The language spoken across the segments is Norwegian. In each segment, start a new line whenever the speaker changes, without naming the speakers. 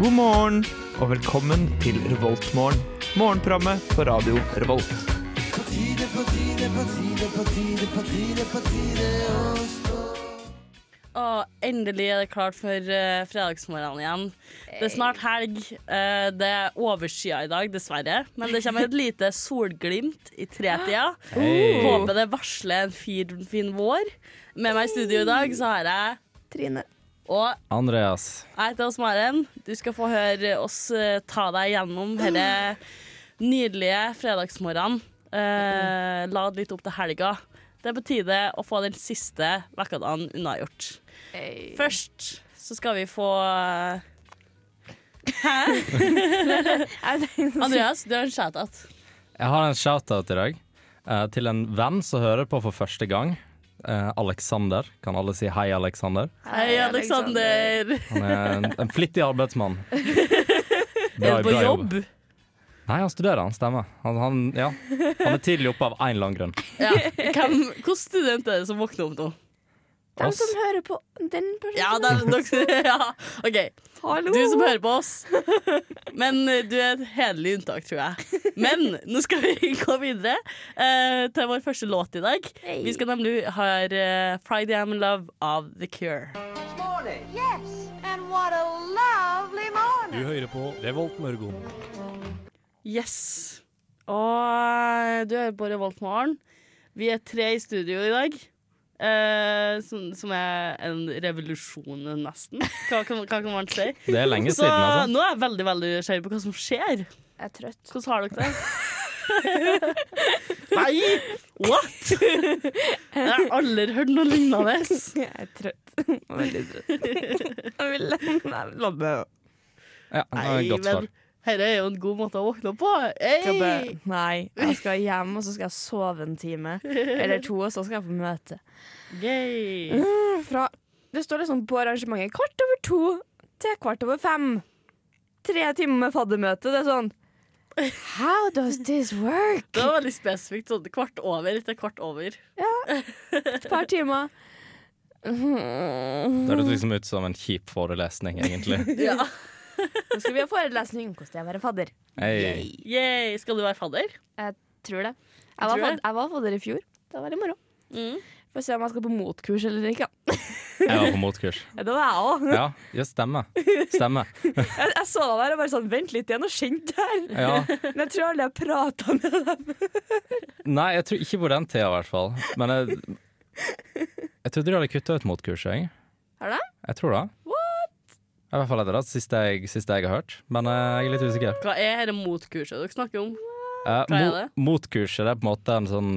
God morgen og velkommen til Revoltmorgen. Morgenprogrammet på radio Revolt.
Og endelig er det klart for eh, fredagsmorgenen igjen. Det er snart helg. Eh, det er overskya i dag, dessverre. Men det kommer et lite solglimt i tretida. Håper det varsler en fin, fin vår. Med meg i studio i dag så har jeg
Trine.
og
Andreas.
jeg heter Åse Maren. Du skal få høre oss eh, ta deg gjennom denne nydelige fredagsmorgenen. Eh, lad litt opp til helga. Det er på tide å få den siste vekkedagen unnagjort. Først så skal vi få eh, Andreas, du har en shout-out.
Jeg har en shoutout i dag eh, til en venn som hører på for første gang. Eh, Alexander. Kan alle si hei, Alexander?
Hei, Alexander.
Han er en, en flittig arbeidsmann. Bra-
Er du på
bra
jobb?
Nei, han studerer, han stemmer. Han, han, ja. han er tidlig oppe av én eller annen grunn.
Ja. Hvem, hvilken student er det som våkner opp nå?
De som
Oss.
sånn
hører på den personen.
Ja, det er, dere, ja. OK.
Hallo!
Du som hører på oss. Men eh, du er et hederlig unntak, tror jeg. Men nå skal vi gå videre eh, til vår første låt i dag.
Hei.
Vi skal nemlig høre eh, 'Friday I'm in Love' av The Cure.
Yes, and what a lovely morning.
Yes. Og du hører på Revolt morgen. Vi er tre i studio i dag. eh, som, som er en revolusjon, nesten. Hva kan, hva kan man si?
Det er lenge
Så
siden, altså.
nå er jeg veldig veldig nysgjerrig på hva som skjer.
Jeg er trøtt.
Hvordan har dere det? Nei! What?! Jeg har aldri hørt noe lignende.
Jeg er trøtt. Veldig trøtt. Jeg vil Nei, la meg
Ja, det var
Nei,
et godt
men
svar.
dette er jo en god måte å våkne opp på.
jobbe.
Hey!
Nei, jeg skal hjem, og så skal jeg sove en time. Eller to, og så skal jeg på møte.
Yay.
Fra, det står liksom på arrangementet kvart over to til kvart over fem. Tre timer med faddermøte. Det er sånn How does this work?
Det var veldig spesifikt. Sånn kvart over etter kvart over.
Et par timer. Nå
Det hørtes liksom ut som en kjip forelesning, egentlig.
Ja.
skal vi ha forelesning. Hvordan det er å være fadder.
Hey.
Yay. Skal du være fadder?
Jeg tror det. Jeg
Tror
var,
det?
fad, jeg var fadder i fjor. Det var veldig moro.
Mm.
Får se om jeg skal på motkurs eller ikke. da.
Jeg var på motkurs.
Ja, Det var jeg òg.
Ja, ja stemmer. Stemmer.
Jeg, jeg så deg der og bare sånn Vent litt, det er noe kjent her.
Ja.
Men jeg tror aldri jeg prata med dem.
Nei, jeg tror ikke på den tida i hvert fall. Men jeg, jeg trodde de hadde kutta ut motkurset, jeg.
Har du det?
Jeg tror det. What? I hvert fall er det det siste jeg, siste jeg har hørt, men eh, jeg er litt usikker.
Hva er dette motkurset dere snakker om?
Eh,
Hva er
mo-
det?
Motkurset det er på en måte en sånn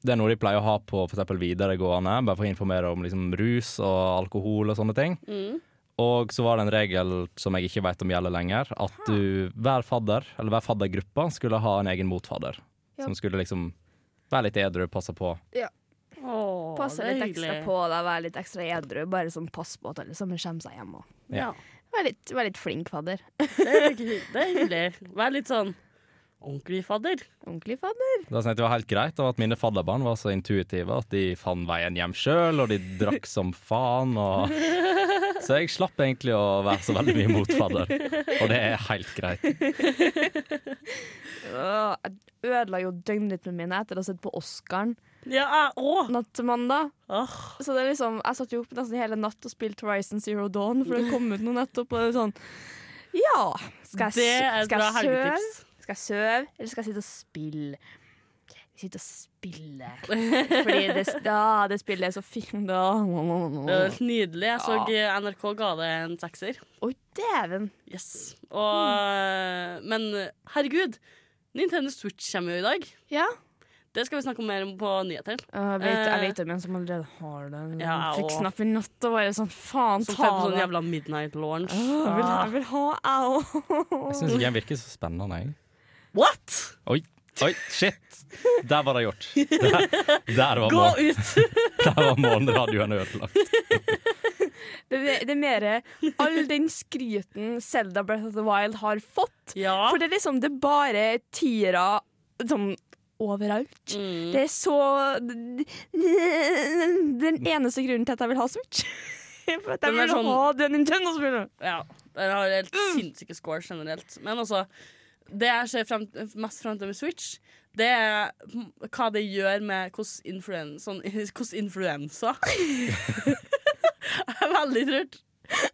Det er noe de pleier å ha på for eksempel videregående, bare for å informere om liksom, rus og alkohol og sånne ting.
Mm.
Og så var det en regel som jeg ikke vet om gjelder lenger, at du, hver fadder, eller hver faddergruppe, skulle ha en egen motfadder.
Ja.
Som skulle liksom være litt edru, passe på.
Åh,
Passe
det er
litt ekstra
hyggelig.
på deg, være litt ekstra edru. Bare sånn pass på at alle sammen kommer seg hjem. og
Ja.
Vær litt, vær litt flink fadder.
Det er, hy- det er hyggelig. Vær litt sånn ordentlig fadder.
Ordentlig fadder.
Da syntes jeg det var helt greit og at mine fadderbarn var så intuitive at de fant veien hjem sjøl, og de drakk som faen. Og... Så jeg slapp egentlig å være så veldig mye mot fadder, og det er helt greit.
Åh, Jeg ødela jo døgnrytmen min etter å ha sett på Oscaren
Ja, jeg òg.
natt til mandag.
Åh.
Så det er liksom, jeg satt jo opp nesten hele natt og spilte Horizon Zero Dawn, for det kom ut noe nettopp. Og det er sånn Ja! Skal
Det
jeg,
er
s-
et
skal
bra
jeg sove?
helgetips.
Skal jeg sove, eller skal jeg sitte og spille? Sitte og spille. Fordi det, s- da, det spillet er så fint, da.
Det var helt nydelig. Jeg så
Ja.
eh, NRK ga det en sekser.
Oi, dæven.
Yes. Og,
Hmm.
men herregud, Nintendo Switch kommer jo i dag.
Ja.
Det skal vi snakke om mer om på nyhetene.
Jeg vet, jeg vet om en som allerede har det.
Eh. Ja,
Han fikk
og-
knapp i natt og bare sånn Faen,
Som
ta
får på sånn
det.
jævla midnight launch.
Åh, Jeg vil, jeg vil ha, jeg òg.
Jeg syns ikke den virker så spennende, jeg.
What?!
Oi, oi, shit! Der var det gjort. Der, der var,
Gå
morgen,
ut!
der var morgenradioen ødelagt.
Det, det er mer all den skryten Selda Breath of the Wild har fått.
ja.
For det er liksom det er bare tiere sånn overalt.
Mm.
Det er så Den eneste grunnen til at jeg vil ha Switch. For at jeg
Den er
vil
sånn-
ha den Nintendo-spillet.
ja. Jeg har helt sinnssyke score generelt. Men også, det jeg ser frem, mest frem til med Switch, det er hva det gjør med hvordan influen, sånn, hvordan influensa Det er veldig trørt.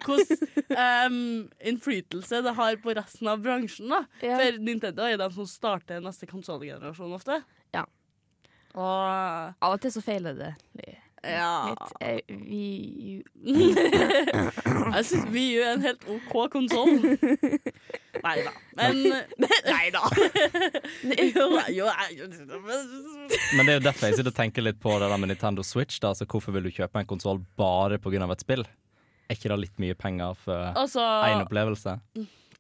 Hvordan em, innflytelse det har på resten av bransjen. da
Ja.
For Nintendo er de som starter neste konsollgenerasjon ofte.
Ja.
Og
Av og til så feiler det litt.
ja
Eh, vi
Jeg syns vi er en helt OK konsoll. Nei da. Men Nei da. jo, jo, jo,
Men det er jo derfor jeg sitter og tenker litt på det der med Nintendo Switch. Da. Altså, hvorfor vil du kjøpe en konsoll bare pga. et spill? Er ikke det litt mye penger for
Altså,
én opplevelse?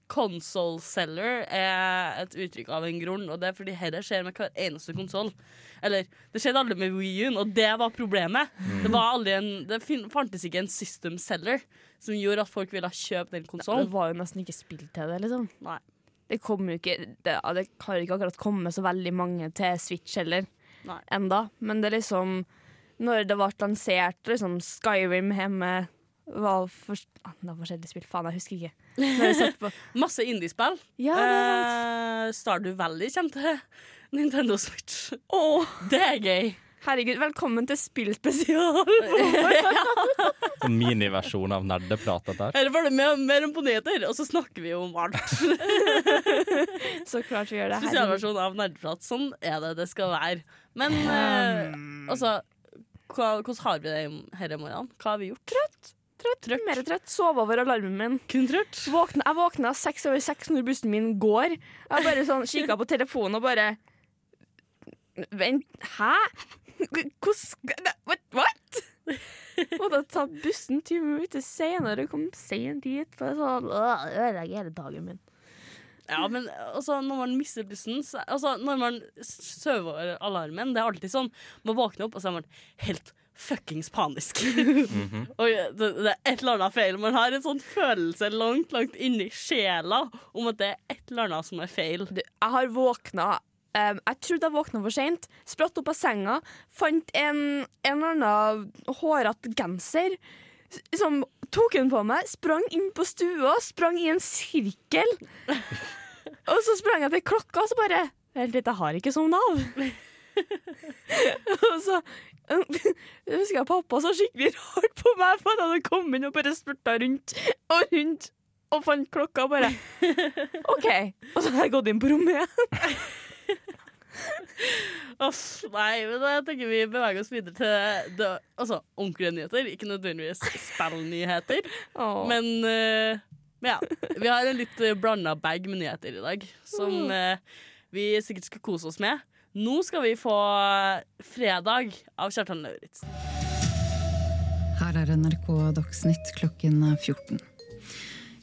console seller er et uttrykk av en grunn, og det er fordi dette skjer med hver eneste konsoll. Eller, det skjedde aldri med Wii U-en, og det var problemet. Det, var aldri en, det fin, fantes ikke en system seller som gjorde at folk ville kjøpe den
Det
konsollen.
var jo nesten ikke spill til det, liksom.
Nei.
Det kommer jo ikke Det, ja, det har ikke akkurat kommet så veldig mange til Switch heller
Nei.
enda. Men det er liksom Når det ble lansert, liksom Skyrim hjemme var for, ah, Det var forskjellige spill, faen, jeg husker ikke. Når jeg satt på
Masse indiespill.
Ja, det er sant.
Eh, Stardew Valley kommer til Nintendo Switch. Det er gøy.
Herregud, velkommen til spillspesial!
En miniversjon av nerdeprat, dette her.
Her var det mer, mer om på nyheter, og så snakker vi om alt.
så klart vi gjør det. Herregud.
Spesialversjon av nerdeprat. Sånn er det det skal være. Men eh, altså hva, hvordan har vi det i- her i morgen? Hva har vi gjort? Trøtt.
Trøtt, Mer trøtt. Sov over alarmen min.
Kun trøtt.
Våkna, jeg våkna seks over seks når bussen min går. Jeg bare sånn kikka på telefonen og bare Vent, hæ? Hvordan skal- ne, What? what? Måtte ta bussen 20 minutter senere og kom sent dit. For sånn, øh, ødelegger hele dagen min.
Ja, men altså, når man mister bussen så, altså, Når man sover over alarmen, det er alltid sånn. Man våkner opp, og så er man helt fuckings panisk. Og det, det er et eller annet feil. Man har en sånn følelse langt, langt inni sjela om at det er et eller annet som er feil.
Du, jeg har våkna em, Jeg trodde jeg våkna for seint. Spratt opp av senga, fant en, en eller annen hårete genser. s- Som tok den på meg, sprang inn på stua, sprang i en sirkel. Og så sprang jeg til klokka, og så bare Vent litt, jeg har ikke sovna av. og så em, jeg husker jeg pappa så skikkelig rart på meg, for han hadde kommet inn og bare spurta rundt og rundt. Og fant klokka og bare OK. Og så har jeg gått inn på rommet igjen.
Uff, nei, men jeg tenker vi beveger oss videre til det, altså, ordentlige nyheter. Ikke nødvendigvis spillnyheter.
Men
Men eh, men ja, vi har en litt blanda bag med nyheter i dag, som eh, vi sikkert skal kose oss med. Nå skal vi få Fredag av Kjartan Lauritzen.
Her er NRK Dagsnytt klokken 14.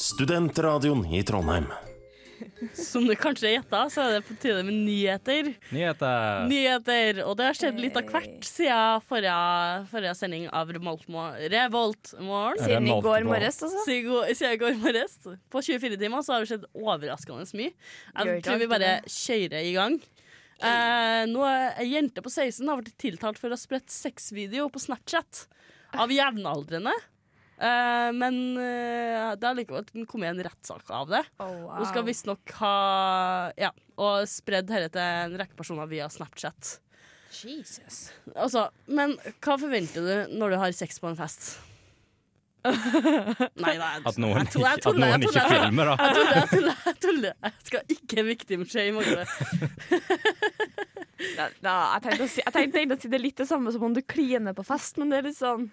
studentradioen i Trondheim.
Som du kanskje gjetta, så er det på tide med nyheter.
Nyheter!
Nyheter, og det har skjedd litt av hvert siden forrige, forrige sending av Revolt Mor- Revolt Morgen.
det er
siden i
malt
går
på.
morges, altså.
Siden i går- siden i går morges. På 24 timer så har det skjedd overraskende mye.
Gjør
Jeg
ikke
tror vi
alt
bare
det.
kjører i gang. Eh, nå er Ei jente på 16 har blitt tiltalt for å ha spredt sexvideo på Snapchat av jevnaldrende. Eh, men eh, det har likevel kommet en rettssak av det. Hun skal visstnok ha Ja, og spredd dette til en rekke personer via Snapchat.
Jesus.
Altså, men hva forventer du når du har sex på en fest? Nei, nei.
At noen
jeg tror- jeg
ikke, at
tuller, jeg
noen ikke
tuller.
filmer, da.
Jeg tuller, jeg tuller, jeg tuller. Jeg skal ikke victim-shame. Agde.
Ja, ja, jeg tenkte, å si, jeg tenkte egentlig å si det er litt det samme som om du kliner på fest, men det er litt sånn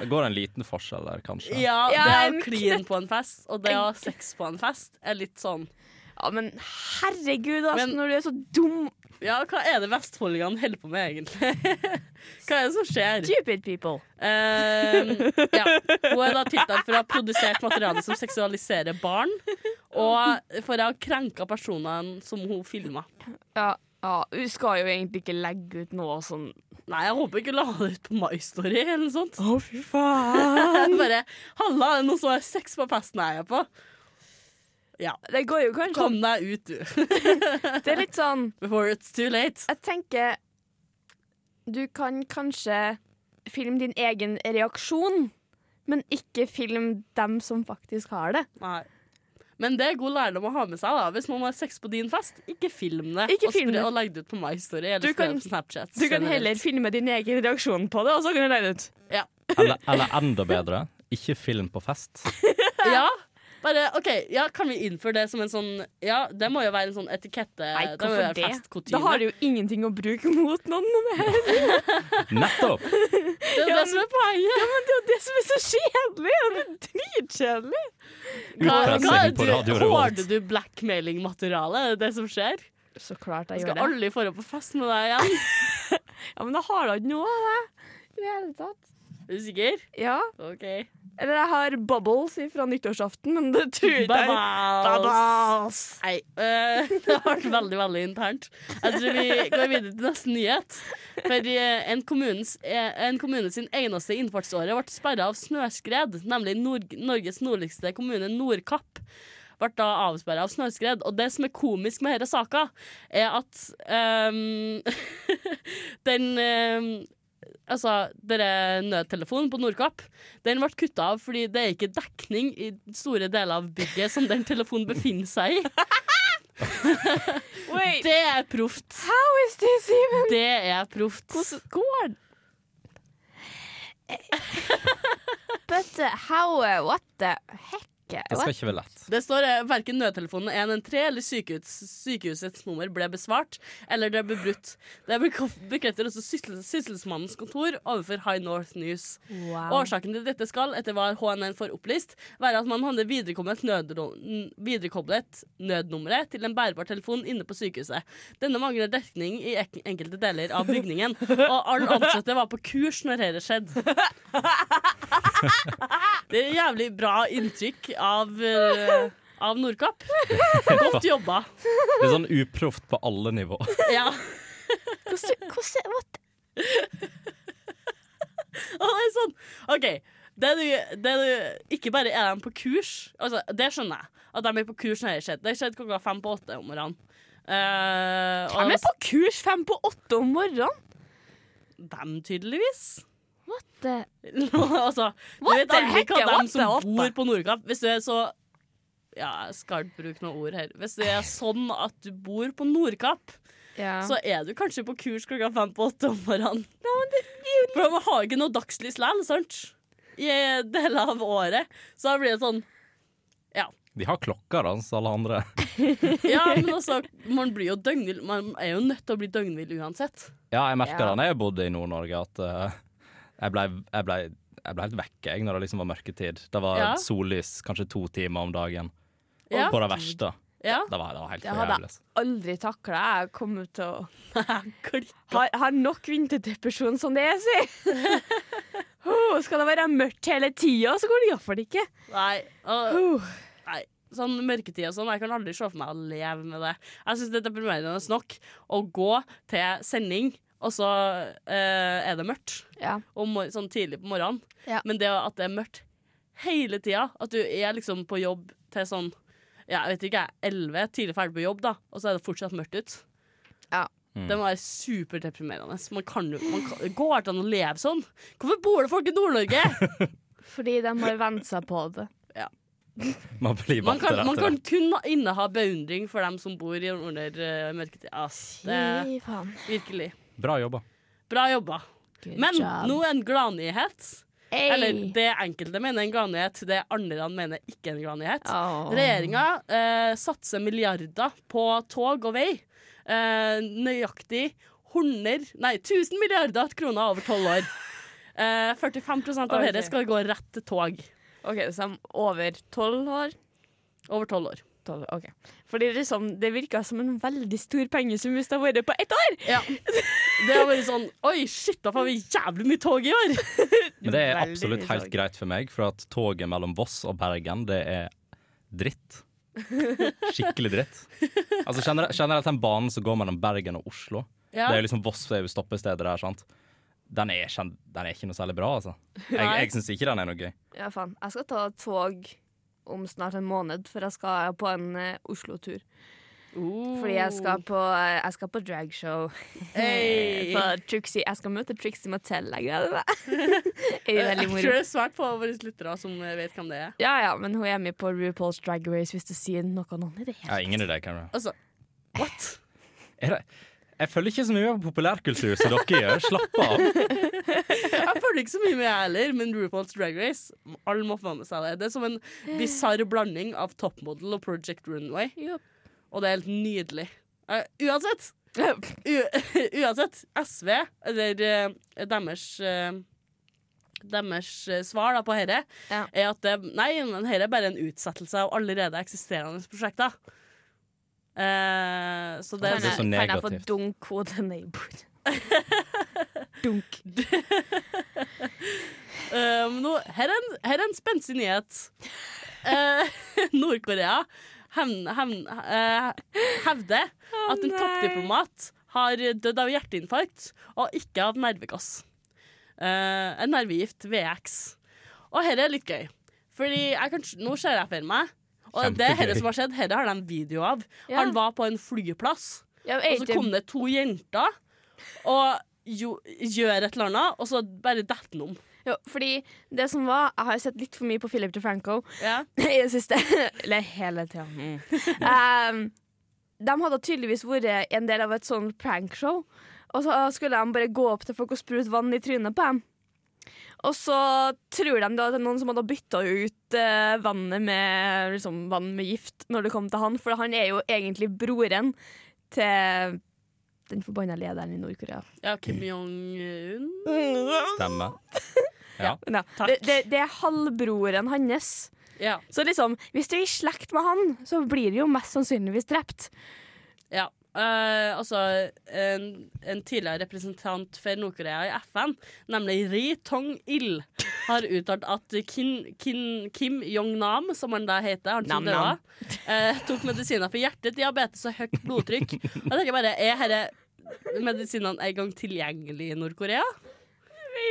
Det går en liten forskjell der, kanskje.
Ja,
Ja,
det å
en
kline på en fest og det å ha sex på en fest er litt sånn
Ja, men herregud, altså,
Men-
når du er så dum
Ja, hva er det vestfoldingene holder på med, egentlig? Hva er det som skjer?
Stupid people.
Ehm, ja. Hun er da tiltalt for å ha produsert materiale som seksualiserer barn, og for å ha krenka personene som hun filma.
Ja, ja, hun skal jo egentlig ikke legge ut noe sånn
Nei, jeg håper ikke hun la det ut på My Story eller noe sånt.
Å, fy faen.
Bare Halla, er det noen som har sex på festen jeg er på? Ja.
Det går jo kanskje
Kom deg ut, du.
Det er litt sånn
Before it's too late.
Jeg tenker Du kan kanskje filme din egen reaksjon, men ikke film dem som faktisk har det.
Nei. Men det er god lærdom å ha med seg. da Hvis noen har sex på din fest, ikke film det.
Ikke
og spre-
film det.
og legg det ut på My Story eller
Du
spre
kan-
det på Snapchat.
Du kan
generelt.
heller filme din egen reaksjon på det, og så kan du legge det ut.
ja.
Eller, eller enda bedre, ikke film på fest.
ja. Bare, ok, ja, Kan vi innføre det som en sånn Ja, det må jo være en sånn etikette. det
Nei,
må jo
hvorfor
være
det?
festkutyme.
Da har du jo ingenting å bruke mot noen mer.
Nettopp!
Det er jo det som er poenget.
Men det er jo det som er så kjedelig! og Det er dritkjedelig.
Hva, hva er
Utpressing på Radio
du,
Revolt.
Hårde du blackmailing-materiale? Er det det som skjer?
Så klart jeg
Jeg skal
gjør det.
aldri få på fest med deg igjen.
Ja, men jeg har da ikke noe av det. I det hele tatt.
Er du sikker?
Ja.
OK.
Eller jeg har bubbles fra nyttårsaften, men det tror jeg ikke jeg Bubbles.
Nei, øh, det har vært veldig veldig internt. Jeg tror vi går videre til neste nyhet. For eh, en, kommunes, eh, en kommune sin eneste innfartsåre ble sperra av snøskred, nemlig Nord Norges nordligste kommune, Nordkapp. Ble da avsperra av snøskred. Og det som er komisk med denne saka, er at ehm, den ehm, Altså, dere nødtelefonen på Nordkapp den ble kutta av fordi det er ikke dekning i store deler av bygget som den telefonen befinner seg i.
Wait,
Det er proft.
how is this even?
Det er proft.
Hvordan går det? But uh, how What the heck?
Det skal ikke være lett.
Det står eh, verken nødtelefonen 113 eller sykehus, sykehusets nummer ble besvart eller det ble brutt. Det bek- bekrefter også syssel- Sysselsmannens kontor overfor High North News. Årsaken til dette skal, etter hva HNN får opplyst, være at man hadde viderekoblet, nødro- n- viderekoblet nødnummeret til en bærbar telefon inne på sykehuset. Denne mangler dekning i ek enkelte deler av bygningen, og alle ansatte var på kurs når dette skjedde. Det er jævlig bra inntrykk av, eh, av Nordkapp. Godt jobba.
Det er sånn uproft på alle nivå.
Ja.
Hvordan, hvordan what?
Og det er sånn OK. Det du, det du, ikke bare er de på kurs, altså, det skjønner jeg. At de er på kurs når det skjedde. Det skjedde klokka fem på åtte om morgenen. Eh, og
De er på kurs fem på åtte om morgenen.
dem, tydeligvis.
What the
altså, du
What
vet
the
aldri
heck,
hva
what
dem som
the- what
bor
the-
på Nordkapp Hvis du er så Ja, jeg skal ikke bruke noe ord her. Hvis det er sånn at du bor på Nordkapp,
ja.
så er du kanskje på kurs klokka fem på åtte om morgenen. For de har ikke noe dagslys likevel, sant? I deler av året. Så da blir det sånn Ja.
De har klokker, altså, alle andre.
Ja, men altså, man blir jo døgnvill. Man er jo nødt til å bli døgnvill uansett.
Ja, jeg merka
Ja.
det da jeg bodde i Nord-Norge, at eh, jeg blei jeg ble, jeg ble helt vekk jeg, når det liksom var mørketid. Det var
Ja.
sollys kanskje to timer om dagen.
Ja.
På det verste.
Ja.
Det var, det var helt altså.
Det hadde
jævlig.
jeg aldri takla. Jeg kommer til å
Klikk.
har, har nok vinterdepresjon som det er, si. oh, skal det være mørkt hele tida, så går det iallfall ikke.
Nei. Og,
Uh.
nei. Sånn mørketid og sånn, jeg kan aldri se for meg å leve med det. Jeg syns det er deprimerende nok å gå til sending, og så eh, er det mørkt.
Ja.
Om, mor- sånn tidlig på morgenen.
Ja.
Men det at det er mørkt hele tida, at du er liksom på jobb til sånn ja, jeg vet ikke, jeg er 11, tidlig ferdig på jobb, da, og så er det fortsatt mørkt ut.
Ja.
Det må være superdeprimerende. Man kan, jo- man kan, går det an å leve sånn? Hvorfor bor det folk i Nord-Norge?
Fordi de har vent seg på det.
Man blir
Man
vant til
kan, man kan
dette.
kun inneha beundring for dem som bor i under eh, mørketid. Ass, det er
Fy faen.
virkelig.
Bra jobba.
Bra jobba.
Good
Men
job.
nå en gladnyhet.
Hey.
Eller det enkelte mener en gladnyhet, det andre mener ikke en gladnyhet.
Åh.
Regjeringa eh, satser milliarder på tog og vei. Eh, nøyaktig 100 Nei, 1000 milliarder kroner over tolv år. Eh, 45 av
Ok.
dette skal gå rett til tog
OK, så de er over sånn tolv år.
over tolv år.
tolv, ok. Fordi det, liksom, det virka som en veldig stor pengesum hvis det har vært på ett år!
Ja. Det har vært sånn Oi, shit, da får vi jævlig mye tog i år!
Men det er
Veldig
absolutt
mye
helt
sorg.
greit for meg, for at toget mellom Voss og Bergen, det er dritt. Skikkelig dritt. Altså generelt, generelt den banen som går mellom Bergen og Oslo,
Ja.
det er jo liksom Voss er jo stoppestedet der, sant. Den er, kjen- den er ikke noe særlig bra, altså. Jeg,
Nei.
jeg syns ikke den er noe gøy.
Ja, faen. Jeg skal ta tog om snart en måned, for jeg skal på en eh, Oslo-tur. Fordi jeg skal på, eh, jeg skal på dragshow.
Hey.
På Trixie. Jeg skal møte Trixie Mattel. Jeg gleder meg. Det er
Jeg
veldig
tror
moro.
det er svært få av våre lyttere som eh, vet hvem det er.
Ja, ja, men hun er med på RuPaul's Drag Race hvis du sier noe annet. i Det
Jeg har ingen idé. Cameron.
Altså, what?
Er det, jeg følger ikke så mye med på populærkultur som dere gjør. Slapp av.
Jeg følger ikke så mye med, jeg heller, men RuPaul's Drag Race Alle må få med seg det. Det er som en bisarr blanding av Topmodel og Project Runway,
Yep.
og det er helt nydelig. Eh, uansett, u uansett SV, eller eh, deres eh, deres eh, svar da på dette
Ja.
er at det, nei, men dette er bare en utsettelse av allerede eksisterende prosjekter. Eh, så det
Kan
er
jeg- så
kan jeg få
negativt.
dunk hode neighbor? dunk.
Um, nå, her, er en, her er en spenstig nyhet. Eh, Nord-Korea hevn- hevn- eh, hevder at en
nei.
toppdiplomat har dødd av hjerteinfarkt og ikke av nervekass. Eh, en nervegift, VX. Og her er litt gøy, Fordi jeg kan, nå ser jeg for meg Og det er
Kjempegøy.
dette som har skjedd, dette har de video av.
Ja.
Han var på en flyplass.
Ja,
Og så kom det to jenter og jo, gjør et eller annet, og så bare detter han om.
jo, fordi det som var Jeg har sett litt for mye på Philip DeFranco
Ja.
i det siste. Eller hele tida. Um, de hadde tydeligvis vært en del av et sånn prankshow. Og så skulle de bare gå opp til folk og sprute vann i trynet på dem. Og så tror de da at det er noen som hadde bytta ut eh, vannet med, liksom, vann med gift når det kom til han, for han er jo egentlig broren til den forbanna lederen i Nord-Korea.
Ja, Kim Jong-un
Stemmer.
Ja,
Takk.
det, det, det er halvbroren hans.
Ja,
Så liksom, hvis du er i slekt med han, så blir du jo mest sannsynligvis drept.
ja. Eh, altså, en, en tidligere representant for Nord-Korea i FN, nemlig Ri Tong-il, har uttalt at Kim, Kim, Kim Jong-nam, som han da heter, han som døde,
Nam-nam.
eh, tok medisiner for hjerte, diabetes og høyt blodtrykk. Og jeg tenker bare, er disse medisinene en gang tilgjengelig i Nord-Korea?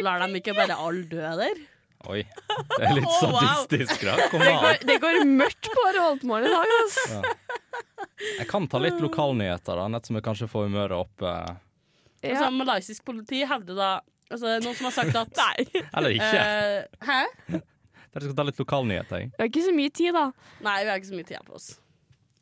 Lar de ikke bare alle dø der?
Oi. Det er litt
Å, wow.
sadistisk. Da. Kom an.
Det går mørkt på Roldmoren i dag, ass.
Jeg kan ta litt lokalnyheter, da, nett som jeg kanskje får humøret opp. eh,
Altså, malaysisk politi hevder da Altså, noen som har sagt at
Eller ikke.
eh, Hæ?
Dere skal ta litt lokalnyheter. jeg.
Vi har ikke så mye tid, da.
Nei, vi har ikke så mye tid på oss.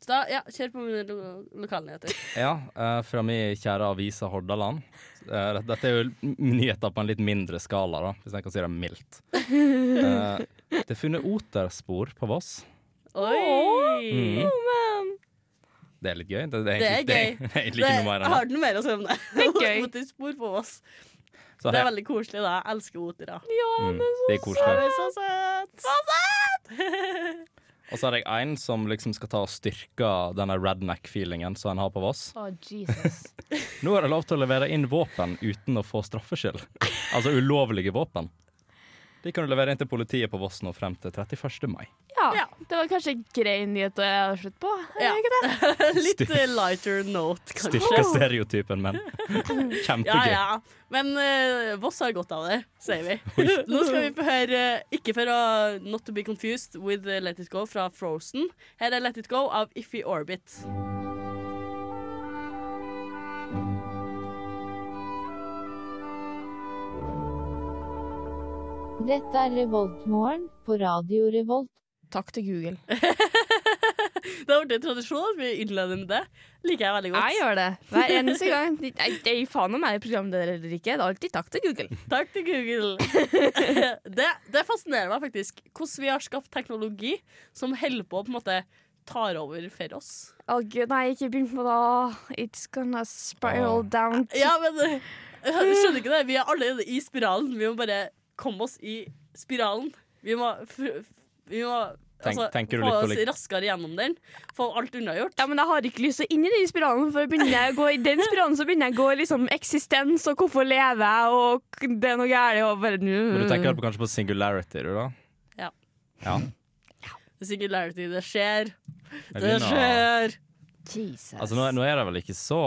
Så da, ja, kjør på med lo lokalnyheter.
Ja, eh, fra min kjære avisa Hordaland. Eh, Dette er jo l- nyheter på en litt mindre skala, da, hvis jeg kan si det mildt. Eh, Det er funnet oterspor på Voss.
Oi!
Det er litt gøy. Det er
Det er
egentlig,
gøy.
Det er egentlig ikke noe mer enn det.
har du noe mer å si om det?
Det er gøy.
Mot i spor på oss.
Så
Det er
her-
veldig koselig, da. Jeg elsker otere.
mm,
sånn-
det er
Det
koselig.
er så søtt! Så søtt!
Og så er det en som liksom skal ta og styrke denne redneck-feelingen som en har på Voss.
Å, Jesus.
Nå er det lov til å levere inn våpen uten å få straffskyld. Altså ulovlige våpen. De kan du levere inn til politiet på Voss nå frem til 31. mai.
Ja,
Ja.
det var kanskje en grei nyhet å slutte på.
Ja.
Ikke det?
Litt eh, lighter note, kanskje.
Styrke stereotypen, men
Ja,
kjempegøy.
ja. Men eh, Voss har godt av det, sier vi. Nå skal vi få høre eh, Ikke for å Not to be confused with eh, Let It Go fra Frozen. Her er Let It Go av Iffy Orbit.
Dette er Revoltmorgen på Radio Revolt.
Takk til Google.
Det har vært en tradisjon at vi innleder med det. Liker jeg veldig godt.
Jeg gjør det hver eneste gang. Jeg jeg gir faen om jeg er programleder eller ikke. Det er alltid takk til Google.
Takk til Google. det, det fascinerer meg faktisk hvordan vi har skapt teknologi som holder på å på en måte tar over for oss.
Å gud, nei, ikke begynn på det. It's gonna spiral
Åh.
down.
Ah. Ja, men eh, Du skjønner ikke det? Vi er allerede i spiralen. Vi må bare komme oss i spiralen. Vi må, fr- vi må
Tenk-
altså,
tenker
få
du litt på
oss
lik-
raskere gjennom den. Få alt unnagjort.
Ja, men jeg har ikke lyst til å inn i den spiralen, for begynner jeg å gå i den spiralen, så begynner jeg å gå i liksom eksistens og hvorfor lever jeg, og k- det er noe gærent og bare
Men du tenker på, kanskje på singularity, du da?
Mm. Ja.
ja.
Det er sikkert lært i det skjer.
Jeg
Det
begynner å-
skjer.
Jesus.
Altså, nå, nå er det vel ikke så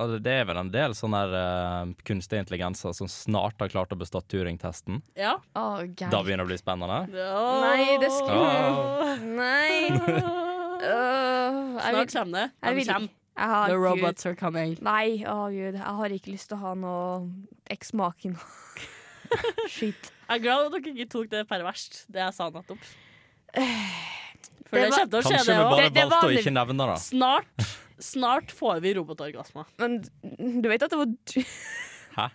altså, Det er vel en del sånne her, eh, kunstige intelligenser som snart har klart å bestå Turing-testen.
Ja.
Å, Geir.
Da begynner det å bli spennende.
Nei, det
Ja.
skulle Nei. Øh, jeg vil,
Snart kommer det.
jeg
De
vil ikke.
kommer.
Jeg har
The
ikke-
robots are coming.
Nei, å gud, jeg har ikke lyst til å ha noe eksmaken. Shit.
Jeg er glad at dere ikke tok det perverst, det jeg sa nettopp. For
Det
det,
var-
kommer til å skje,
Kanskje
det
vi
òg.
bare
Det- det er
valgte å
vanlig.
ikke nevne det.
Snart, snart får vi robotorgasmer.
Men du vet at det var du
Hæ?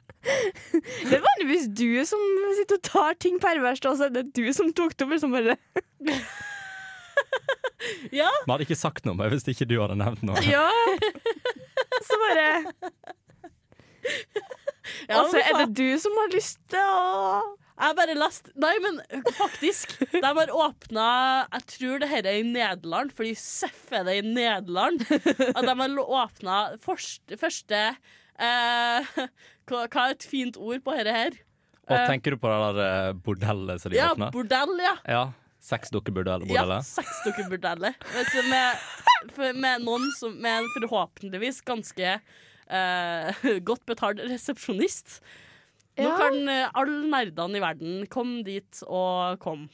Det er vanligvis du som sitter og tar ting perverst, og så er det du som tok det opp. Liksom bare
Ja,
Vi hadde ikke sagt noe men hvis ikke du hadde nevnt noe.
Ja! Så bare
ja
Og så er det du som har lyst til å
altså, Jeg bare lest Nei, men faktisk. De har åpna Jeg tror det her er i Nederland, fordi seff er det i Nederland. At de har åpna første, første eh, hva, hva er et fint ord på dette her?
Og tenker du på det der eh, bordellet som de
Ja,
åpner?
bordell, ja.
Ja. Sexdukkebordell.
Ja,
bordellet.
sexdukkebordellet. Men så Med, for- med noen som med en forhåpentligvis ganske eh, godt betalt resepsjonist. Nå
Ja.
kan eh, alle nerdene i verden komme dit og komme.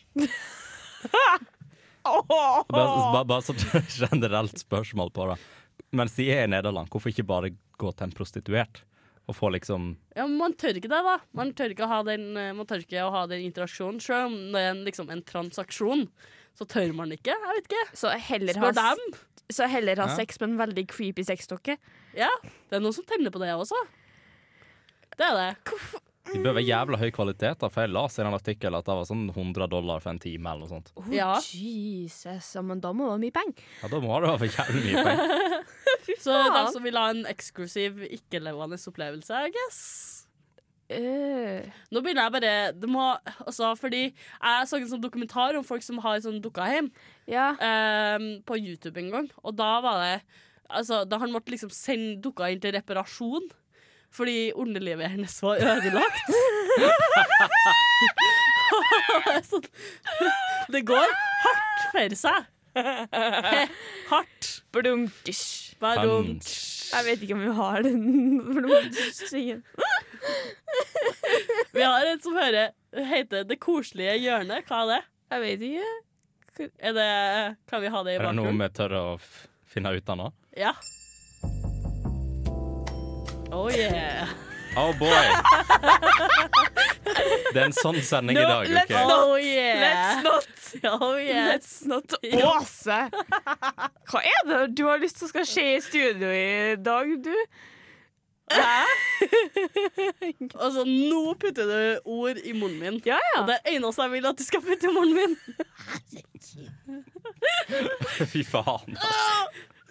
Bare, bare, bare sånn generelt spørsmål på det. Mens de er i Nederland, hvorfor ikke bare gå til en prostituert og få liksom
Ja, men man tør ikke det, da. Man tør ikke å ha den, eh, man tør ikke å ha den interaksjonen. Selv om det er en, liksom, en transaksjon, så tør man ikke. Jeg vet ikke.
Så heller
Spør dem.
så heller ha
Ja.
sex med en veldig creepy sexdokke.
Ja, det er noen som tenner på det også. Det er det.
De bør være jævla høy kvalitet, da, for jeg las i den artikkelen at det var sånn 100 dollar for en time eller noe sånt.
Oh,
Ja.
Jesus, ja, men da må det mye penger.
Ja, da må det være jævlig mye penger.
Så de
faen.
som vil ha en eksklusiv, ikke-levende opplevelse, I guess.
Øh.
Nå begynner jeg bare det må, altså, Fordi jeg så en sånn dokumentar om folk som har sånn dukka hjem
Ja.
ehm, på YouTube en gang. Og da var det altså, Da han måtte liksom sende dukka inn til reparasjon fordi underlivet hennes var ødelagt. sånn, det går hardt for seg. Hardt.
Blunkers.
Bare
Fan.
dumt.
Jeg vet ikke om vi har den blunkers-tingen.
Vi har en som hører, heter Det koselige hjørnet. Hva er det?
Jeg vet ikke.
Er det kan vi ha det i
Er det noe
bakgrunnen?
vi tør å f- finne ut av nå?
Ja. Oh yeah.
Oh boy! Det er en sånn sending i dag.
let's
ok?
Oh yeah.
Let's not
Oh yes.
Let's not Åse! Hva er det du har lyst til skal skje i studio i dag, du?
Altså, nå putter du ord i munnen min.
Ja, ja.
Og det eneste jeg vil at du skal putte i munnen min.
Fy faen.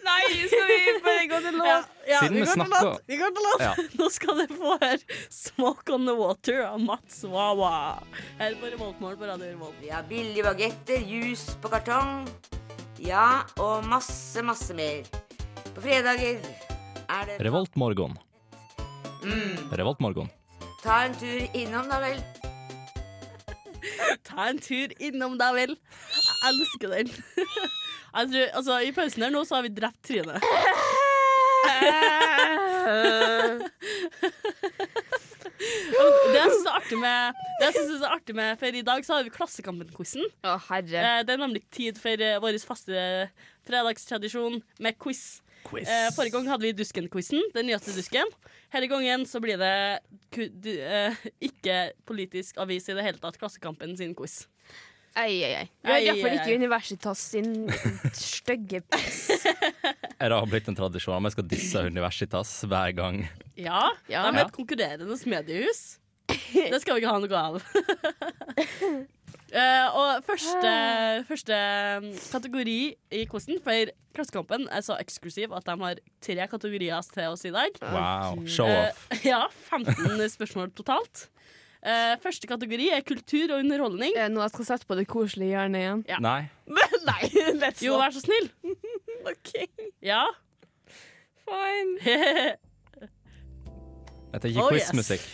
Nei, skal vi bare gå til
Ja, ja,
Siden vi
går til
snakker-
låt. Vi går til låt.
Ja.
Nå skal du få her 'Smoke on the Water' av Mats Wawa. Her på Revoltmorgen på Radio Revolt.
Vi har billige bagetter, jus på kartong. Ja, og masse, masse mer. På fredager er det
Revoltmorgon.
Mm.
Revoltmorgon.
Ta en tur innom, da vel.
Ta en tur innom deg vel. Jeg elsker den. Jeg tror, altså, I pausen her nå så har vi drept Trine.
Eh.
Det jeg syns er artig med, det jeg synes er artig med For i dag så har vi Klassekampen-quizen.
Å, herre.
Eh, Det er nemlig tid for eh, vår faste fredagstradisjon med quiz. Eh, Forrige gang hadde vi Dusken-quizen, den nyeste Dusken. Denne gangen så blir det ku- du, eh, ikke politisk avis i det hele tatt, Klassekampen sin quiz.
Ei, ei, ei.
Ei,
Vi har iallfall
ei, ei.
ikke Universitas sin stygge
Er det har blitt en tradisjon om jeg skal disse Universitas hver gang?
Ja,
Ja.
de er et konkurrerende mediehus. Det skal vi ikke ha noe av. Eh, og første, første mm, kategori i quizen, for Klassekampen er så eksklusiv at de har tre kategorier til oss i dag.
Eh, Wow. Show-off.
Eh, ja, 15 spørsmål totalt. Eh, første kategori er kultur og underholdning.
Er det noe jeg skal sette på det koselige hjørnet igjen?
Ja.
Nei.
Nei, let's
Jo, vær så snill.
OK,
Ja.
fine.
Jeg tenker
Oh, yes.
quizmusikk.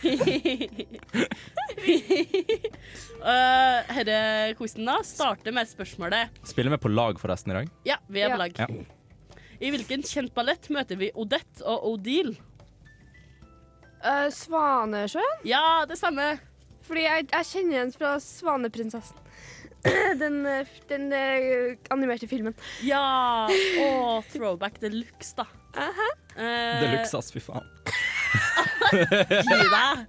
Eh, Herre quizen da starter med spørsmålet
Spiller vi på lag forresten i dag?
Ja, vi er
Ja.
på lag.
Ja.
I hvilken kjent ballett møter vi Odette og Odile?
Eh, Svanesjøen?
Ja, det stemmer.
Fordi jeg, jeg kjenner den fra Svaneprinsessen. Den, eh, f- den eh, animerte filmen.
Ja. Og throwback deluxe, da. Eh,
Deluxe, ass, fy faen.
Gi deg!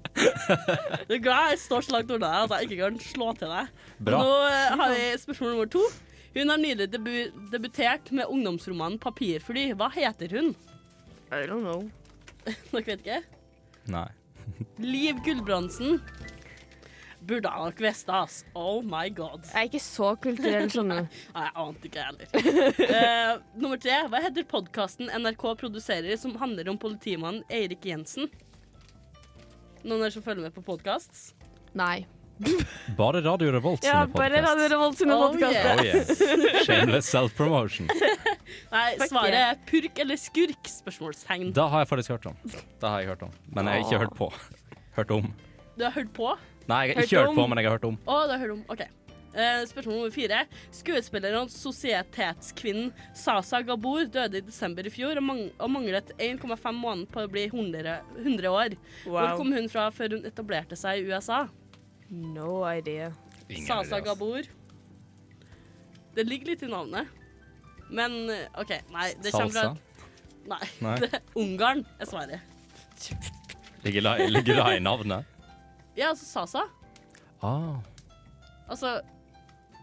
Du er glad jeg står så langt unna deg at jeg ikke kan slå til deg.
Bra.
Nå eh, har vi spørsmål nummer to. Hun har nylig debu debutert med ungdomsromanen 'Papirfly'. Hva heter hun?
I don't know.
Dere vet ikke?
Nei.
Liv Gulbrandsen. Burde han nok visst det, ass. Oh my god.
Jeg er ikke så kulturell, skjønner du.
Nei, jeg ante ikke, jeg heller. Eh, nummer tre. Hva heter podkasten NRK produserer som handler om politimannen Eirik Jensen? Noen her som følger med på podkast?
Nei.
Bare Radio Revolt
Ja,
sine
bare Radio
podkast.
Revolt sine
Oh,
podkaster.
yeah.
Oh, yeah. Shameless self-promotion.
Nei,
Fuck
svaret
yeah.
er purk eller skurk? Spørsmålstegn.
Da har jeg faktisk hørt om. Da har jeg hørt om. Men jeg har ikke hørt på. Hørt om.
Du har hørt på?
Nei, jeg har
Hørt
ikke hørt på,
om.
men jeg har hørt om.
Å, det hører du om. OK. Eh, spørsmål nummer fire. Skuespilleren og societetskvinnen Sasa Gabor døde i desember i fjor og, mang og manglet 1,5 måneder på å bli 100, 100 år. Hvor kom hun fra før hun etablerte seg i USA?
No idea.
Ingen idé,
Sasa
ass.
Gabor. Det ligger litt i navnet. Men eh, OK, nei. Det kommer fra
Salsa?
Nei.
Nei.
Ungarn er svaret.
Ligger det, ligger det i navnet?
Ja, altså Sasa.
Ah.
Altså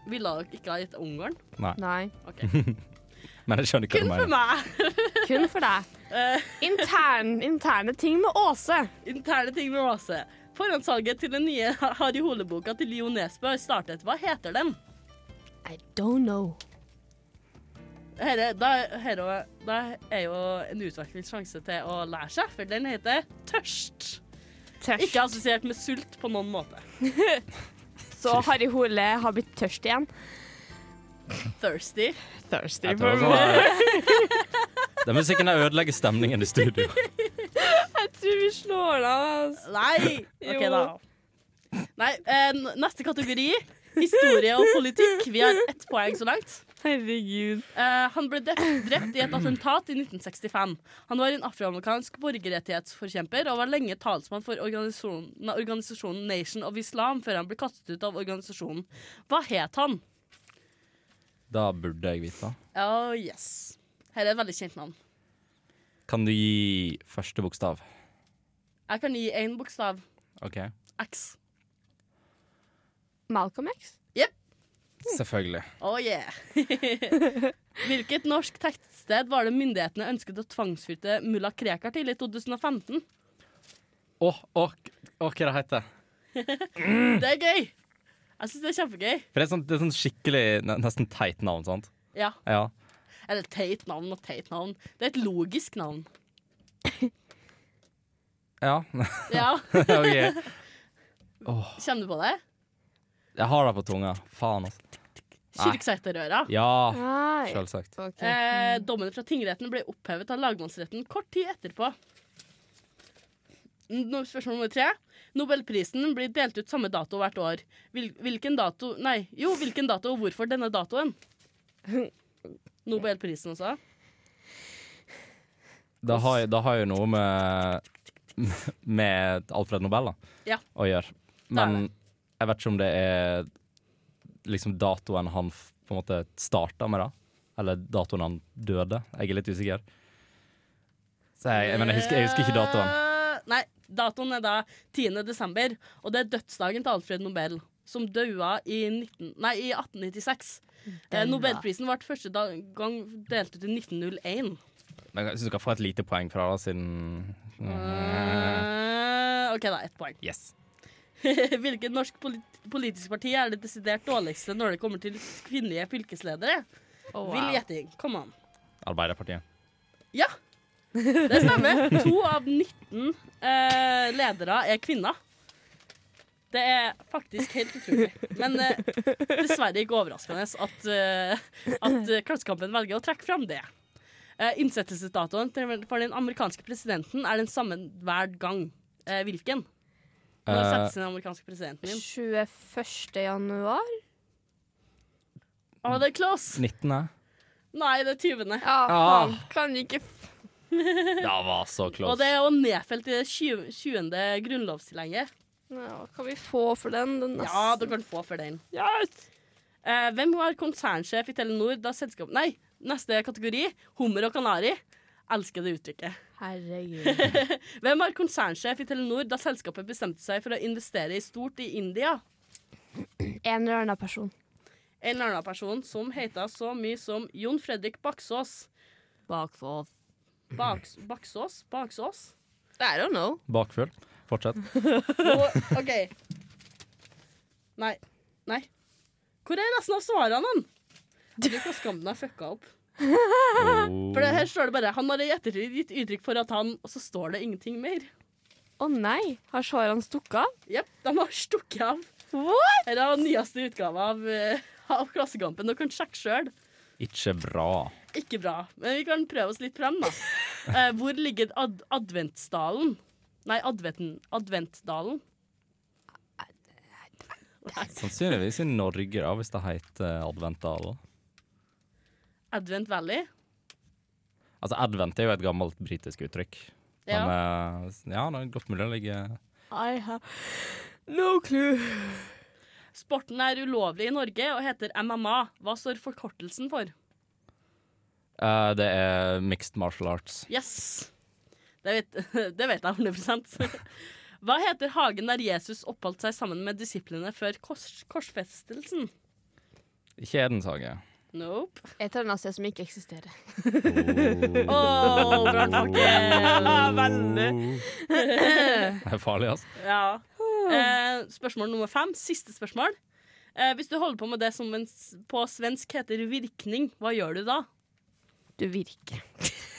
Ville dere ikke ha gitt Ungarn?
Nei.
OK.
Men jeg skjønner hva
Kun
du
for
mener.
meg.
Kun for deg.
Eh,
Intern, interne ting med Åse.
Interne ting med rase. Forhåndssalget til den nye Harry Hole-boka til Lio Nesbø har startet. Hva heter den?
I don't know.
Herre, da, herre, da er jo en utvekslingssjanse til å lære seg, for den heter Tørst.
Tørst.
Ikke assosiert med sult på noen måte.
Så Harry Hole har blitt tørst igjen.
Thirsty.
Thirsty.
Jeg tror det var sånn- Den musikken der ødelegger stemningen i studio.
Jeg tror vi slår det av. altså.
Nei! OK, da. Nei, eh, n- neste kategori. Historie og politikk. Vi har ett poeng så langt.
Herregud.
Eh, han ble drept, drept i et attentat i 1965. Han var en afroamerikansk borgerrettighetsforkjemper og var lenge talsmann for organisasjonen, na- organisasjonen Nation of Islam før han ble kastet ut av organisasjonen. Hva het han?
Da burde jeg vite.
Oh, yes. Her er et veldig kjent navn.
Kan du gi første bokstav?
Jeg kan gi én bokstav.
OK.
X.
Malcolm X?
Selvfølgelig.
Oh yeah. Hvilket norsk tettsted var det myndighetene ønsket å tvangsflytte mulla Krekar til i 2015?
Å, å, å, hva det heter
Det er gøy! Jeg syns det er kjempegøy.
For det? Er sånn, det er sånn skikkelig, ne- nesten teit navn, sant?
Ja.
Ja.
Eller teit navn og teit navn. Det er et logisk navn.
Ja.
Ja,
OK.
Kjenner du på det?
Jeg har det på tunga. Faen, altså. Nei.
Kyrksæterøra.
Ja,
Nei.
selvsagt.
Ok.
Eh, dommen fra tingretten ble opphevet av lagmannsretten kort tid etterpå. Nå, spørsmål nummer tre. Nobelprisen blir delt ut samme dato hvert år. Hvil, hvilken dato Nei, jo, hvilken dato og hvorfor denne datoen? Nobelprisen også.
Det har, det har jo noe med, med Alfred Nobel da,
Ja.
å gjøre.
er
Men jeg vet ikke om det er liksom datoen han f- på en måte starta med, da. Eller datoen han døde. Jeg er litt usikker. Så jeg, jeg, mener, jeg, husker, jeg husker ikke datoen.
Eh, Nei, datoen er da 10. desember, og det er dødsdagen til Alfred Nobel, som daua i, 19, nei, i 1896. Eh, Nobelprisen ble første da- gang delt ut i 1901.
Men jeg syns du kan få et lite poeng fra det, siden
Mm. Eh, OK, da. Ett poeng.
Yes.
Hvilket norsk polit politisk parti er det desidert dårligste når det kommer til kvinnelige fylkesledere?
Oh, wow.
Vill gjetting. Kom an.
Arbeiderpartiet.
Ja! Det stemmer. To av 19 eh, ledere er kvinner. Det er faktisk helt utrolig. Men eh, dessverre ikke overraskende at, eh, at eh, Klassekampen velger å trekke fram det. Eh, innsettelsesdatoen til- for den amerikanske presidenten er den samme hver gang. Eh, hvilken? Når
Eh,
settes den amerikanske presidenten inn?
21. januar?
Å, det er close!
19. er.
Nei, det er 20.
Ja, faen. Kan vi ikke f-
Ja, var så close.
Og det er jo nedfelt i det 20. 20. grunnlovstilhenget.
ja, Kan vi få for den? den
Ja, du kan få for den. Eh, hvem var konsernsjef i Telenor da selskapet Nei, neste kategori. Hummer og kanari. Elsker det uttrykket.
Herregud.
Hvem var konsernsjef i Telenor da selskapet bestemte seg for å investere i stort i India?
En eller annen person.
En annen person som heter så mye som Jon Fredrik Baksås.
Baksås.
Baks, Baksås? Baksås?
I don't know.
Bakfull. Fortsett.
Og, OK. Nei. Nei. Hvor er resten av svarene? han? Jeg tror Klassekampen har fucka opp.
Oh.
For det her står det bare Han har i ettertid gitt uttrykk for at han Og så står det ingenting mer.
Å nei, har svarene stukket av?
Jepp, de har stukket av.
What?
Her er den nyeste utgave av, eh, av Klassekampen. Dere kan sjekke sjøl.
Ikke bra.
Ikke bra, men vi kan prøve oss litt frem, da. Eh, hvor ligger ad Adventsdalen? Nei, Adventen. Adventdalen.
Sannsynligvis i Norge, da, hvis det heter adventdalen.
Advent Valley.
Altså, advent er jo et gammelt britisk uttrykk. Men
Ja.
eh, ja, det er godt mulig å ligge
I have.
No clue.
Sporten er ulovlig i Norge og heter MMA. Hva står forkortelsen for?
Eh, Det er mixed martial arts.
Yes. Det vet, det vet jeg 100 Hva heter hagen der Jesus oppholdt seg sammen med disiplene før kors, korsfestelsen?
Ikke Edenshaget.
Nope.
Et eller annet sted som ikke eksisterer.
Åh, brannfakkel!
Veldig. Det er farlig, altså.
Ja. Eh, spørsmål nummer fem. Siste spørsmål. Eh, hvis du holder på med det som en, s- på svensk heter virkning, hva gjør du da?
Du virker.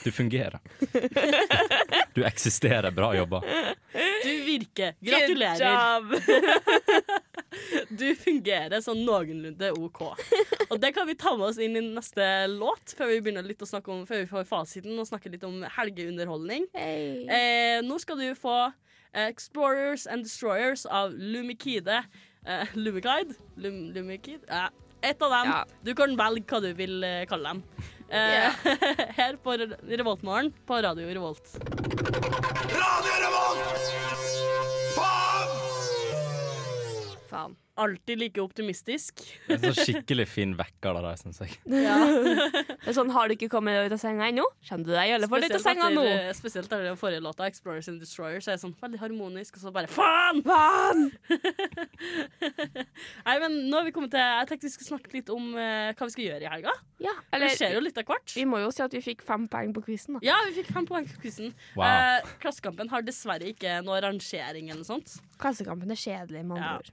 Du fungerer. Du eksisterer. Bra jobba.
Du virker. Gratulerer. Du fungerer sånn noenlunde OK. Og det kan vi ta med oss inn i neste låt, før vi begynner litt å snakke om Før vi får fasiten og snakke litt om helgeunderholdning.
Hey.
Eh, nå skal du få eh, Explorers and Destroyers av Lumikide. Eh, Lumikide? Lum, Lumikide? Ja. Et av dem.
Ja.
Du kan velge hva du vil eh, kalle dem. Eh, her på Re- Revoltmorgen på Radio Revolt.
Faen.
Alltid like optimistisk.
Det er så skikkelig fin vekker det der, syns jeg.
Det er sånn, har du ikke kommet deg ut av senga ennå? Kjenner du deg i alle fall ut av senga nå?
etter, eh, spesielt etter den forrige låta, 'Explorers and Destroyers', er sånn veldig harmonisk, og så bare faen!
Faen!
Nei, men nå har vi kommet til Jeg tenkte vi skulle snakke litt om eh, hva vi skal gjøre i helga.
Ja,
Det skjer jo
eller
litt av hvert.
vi må jo si at vi fikk fem poeng på quizen, da.
Ja, vi fikk fem poeng på quizen.
Wow.
Eh, Klassekampen har dessverre ikke noe rangering eller noe sånt.
Klassekampen er kjedelig, med
Ja.
andre ord.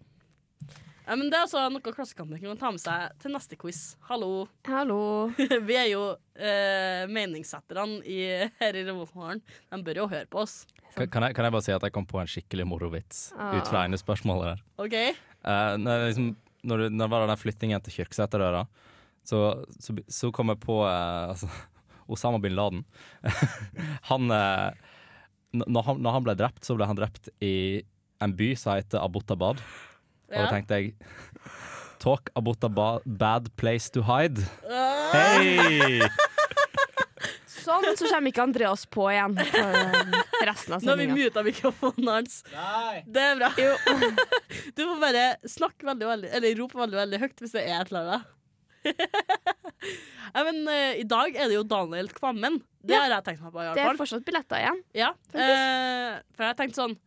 Eh, men det er altså noe Klassekampen kan ta med seg til neste quiz. Hallo.
Hallo.
Vi er jo eh, meningssetterne i, her i Revolveren. De bør jo høre på oss.
Kan kan jeg, kan jeg bare si at jeg kom på en skikkelig morovits ut fra ene spørsmålet der.
OK?
Eh, når, jeg liksom, når, du, når det var den der flyttingen til Kyrksæterdøra, så, så, så kom jeg på eh, altså, Osama bin Laden. han, eh, n- når han Når han ble drept, så ble han drept i en by som heter Abbottabad. Og da
Ja.
tenkte jeg Talk Abbottabad, bad place to hide.
Ah!
Hei!
Sånn, så kommer ikke Andreas på igjen for eh, resten av
Nå har vi
sendinga.
muta mikrofonen hans. Det er bra. Du må bare snakke veldig, veldig Eller rope veldig, veldig høyt hvis det er et eller annet. Nei, men eh, i dag er det jo Daniel Kvammen. Det
Ja.
har jeg tenkt meg på. i
Det
hvert
er
fall
fortsatt billetter igjen.
Ja, eh, for jeg tenkte sånn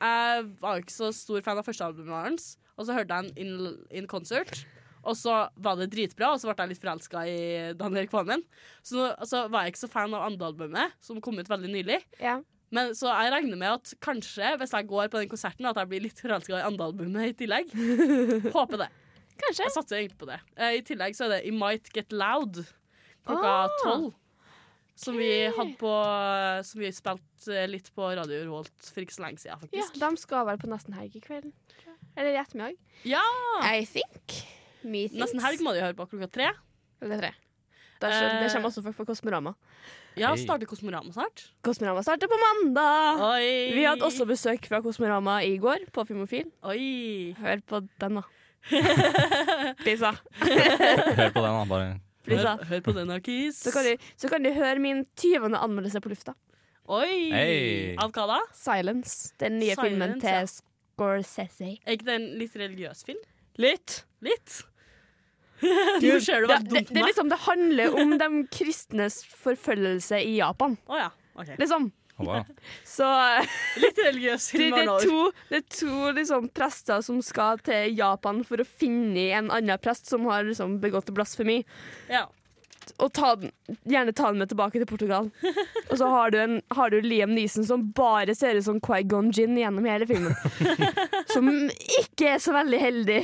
Jeg var ikke så stor fan av første albumet hans, og så hørte jeg den in, in concert. Og så var det dritbra, og så ble jeg litt forelska i Daniel Kvammen. Så nå- så var jeg ikke så fan av andre albumet, som kom ut veldig nylig.
Ja.
Men Så jeg regner med at kanskje, hvis jeg går på den konserten, at jeg blir litt forelska i andre albumet i tillegg. Håper det.
Kanskje.
Jeg satser egentlig på det. Eh, I tillegg så er det I Might Get Loud klokka
Ah.
tolv. Som vi, hadde på, som vi spilte eh, litt på Radio Revolt for ikke så lenge siden,
Ja,
faktisk.
de skal vel på nesten helg i kveld. tror jeg. Eller i ettermiddag.
Ja!
I think. Me thinks.
Nesten helg må de høre på klokka tre.
Eller tre. Der, skjø-
Eh.
det kommer også folk på Kosmorama.
Ja,
Hei.
starter Kosmorama snart.
Kosmorama starter på mandag!
Oi!
Ah, Vi hadde også besøk fra Kosmorama i går på Filmofil.
Oi!
Hør på den, da. Lisa.
Hør på den, da. Bare
Lisa.
Hør, hør på den, Akis.
Så kan, du, så kan du høre min tyvende anmeldelse på lufta.
Oi!
Hei.
Av hva da?
Silence. Den nye
Silence,
filmen
ja.
til Scorsese.
Er ikke det en litt religiøs film?
Litt.
Litt? Nå ser du hva
Ja, det,
dumt
det, er
meg.
liksom, det handler om de kristnes forfølgelse i Japan,
Å ja. ok.
liksom.
Å, wow.
Så eh,
Litt religiøs
det,
film.
det
Arnold.
er to, det er to liksom, prester som skal til Japan for å finne en annen prest som har liksom, begått blasfemi,
Ja.
og ta den, gjerne ta den med tilbake til Portugal. Og så har du, en, har du Liam Neeson som bare ser ut som Quaigon Gin gjennom hele filmen. Som ikke er så veldig heldig.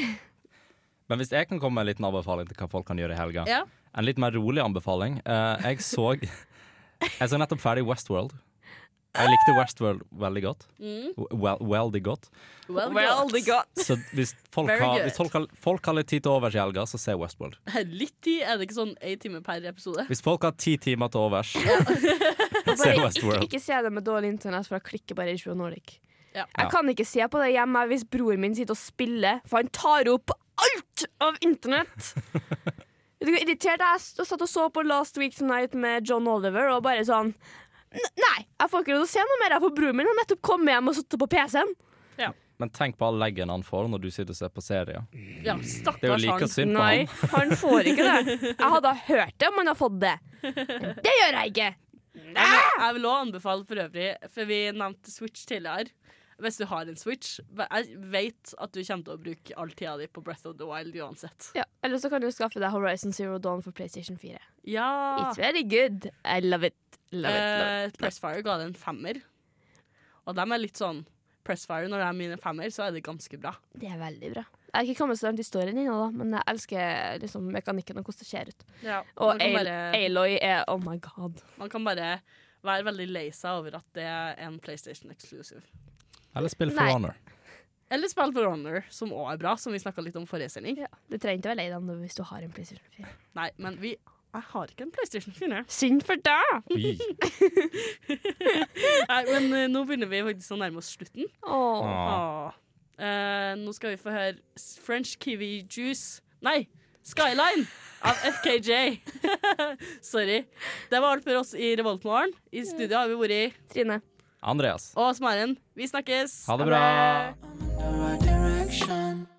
Men hvis jeg kan komme med en liten anbefaling til hva folk kan gjøre i helga
Ja.
En litt mer rolig anbefaling. Eh, jeg så Jeg så nettopp ferdig Westworld. Jeg likte Westworld veldig godt. Well, veldig godt.
Well,
godt.
Så hvis folk,
Very
har,
good.
hvis folk, har, folk har litt tid til overs i helga, så se Westworld.
Litt tid, er det ikke sånn én time per episode?
Hvis folk har ti timer til overs, se
Bare ikke,
Westworld.
ikke se det med dårlig internett, for da klikker bare Israel Nordic.
Ja.
Jeg kan ikke se på det hjemme hvis broren min sitter og spiller, for han tar opp alt av internett! Vet du hvor irritert jeg s- satt og så på Last Week Tonight med John Oliver, og bare sånn "N- Nei, jeg får ikke lov til å se noe mer, jeg, for broren min har nettopp kommet hjem og sittet på PC-en.
Men tenk på all leggen han får når du sitter og ser på serier.
Ja,
Det er jo
stakkars
like
han.
synd på
sånn, Nei,
han.
han får ikke det. Jeg hadde hørt det om han hadde fått det. Det gjør jeg ikke!
Jeg vil- Jeg vil òg anbefale for øvrig, for vi nevnte Switch tidligere. Hvis du har en Switch Jeg vet at du kommer til å bruke all tida di på Breath of the Wild uansett.
Ja, Eller så kan du skaffe deg Horizon Zero Dawn for PlayStation 4.
Ja.
It's very good. I love it. Love it, love
Eh,
it.
Pressfire ga det en femmer, og dem er litt sånn Pressfire, når det er mine femmer, så er det ganske bra.
Det er veldig bra. Jeg har ikke kommet så langt i storyen ennå, da, men jeg elsker liksom, mekanikken og hvordan det ser ut.
man,
Og
kan
Al-
bare,
Aloy er oh my god.
man kan bare være veldig lei seg over at det er en PlayStation exclusive.
Eller spill for
Nei.
honor.
Eller spill for honor, som òg er bra, som vi snakka litt om forrige sending.
Du trenger ikke være lei deg nå hvis du har en PlayStation 4.
Nei, men vi Jeg har ikke en PlayStation 4.
Synd for deg!
Ui.
Nei, men eh, nå begynner vi faktisk å nærme oss slutten.
Åh.
Ah.
Åh. Eh, nå skal vi få høre s- French Kiwi Juice Nei, Skyline av FKJ. Sorry. Det var alt for oss i Revoltmorgen. I studio har vi vært
Trine.
Andreas,
og Maren. Vi snakkes.
ha det bra.
the right direction.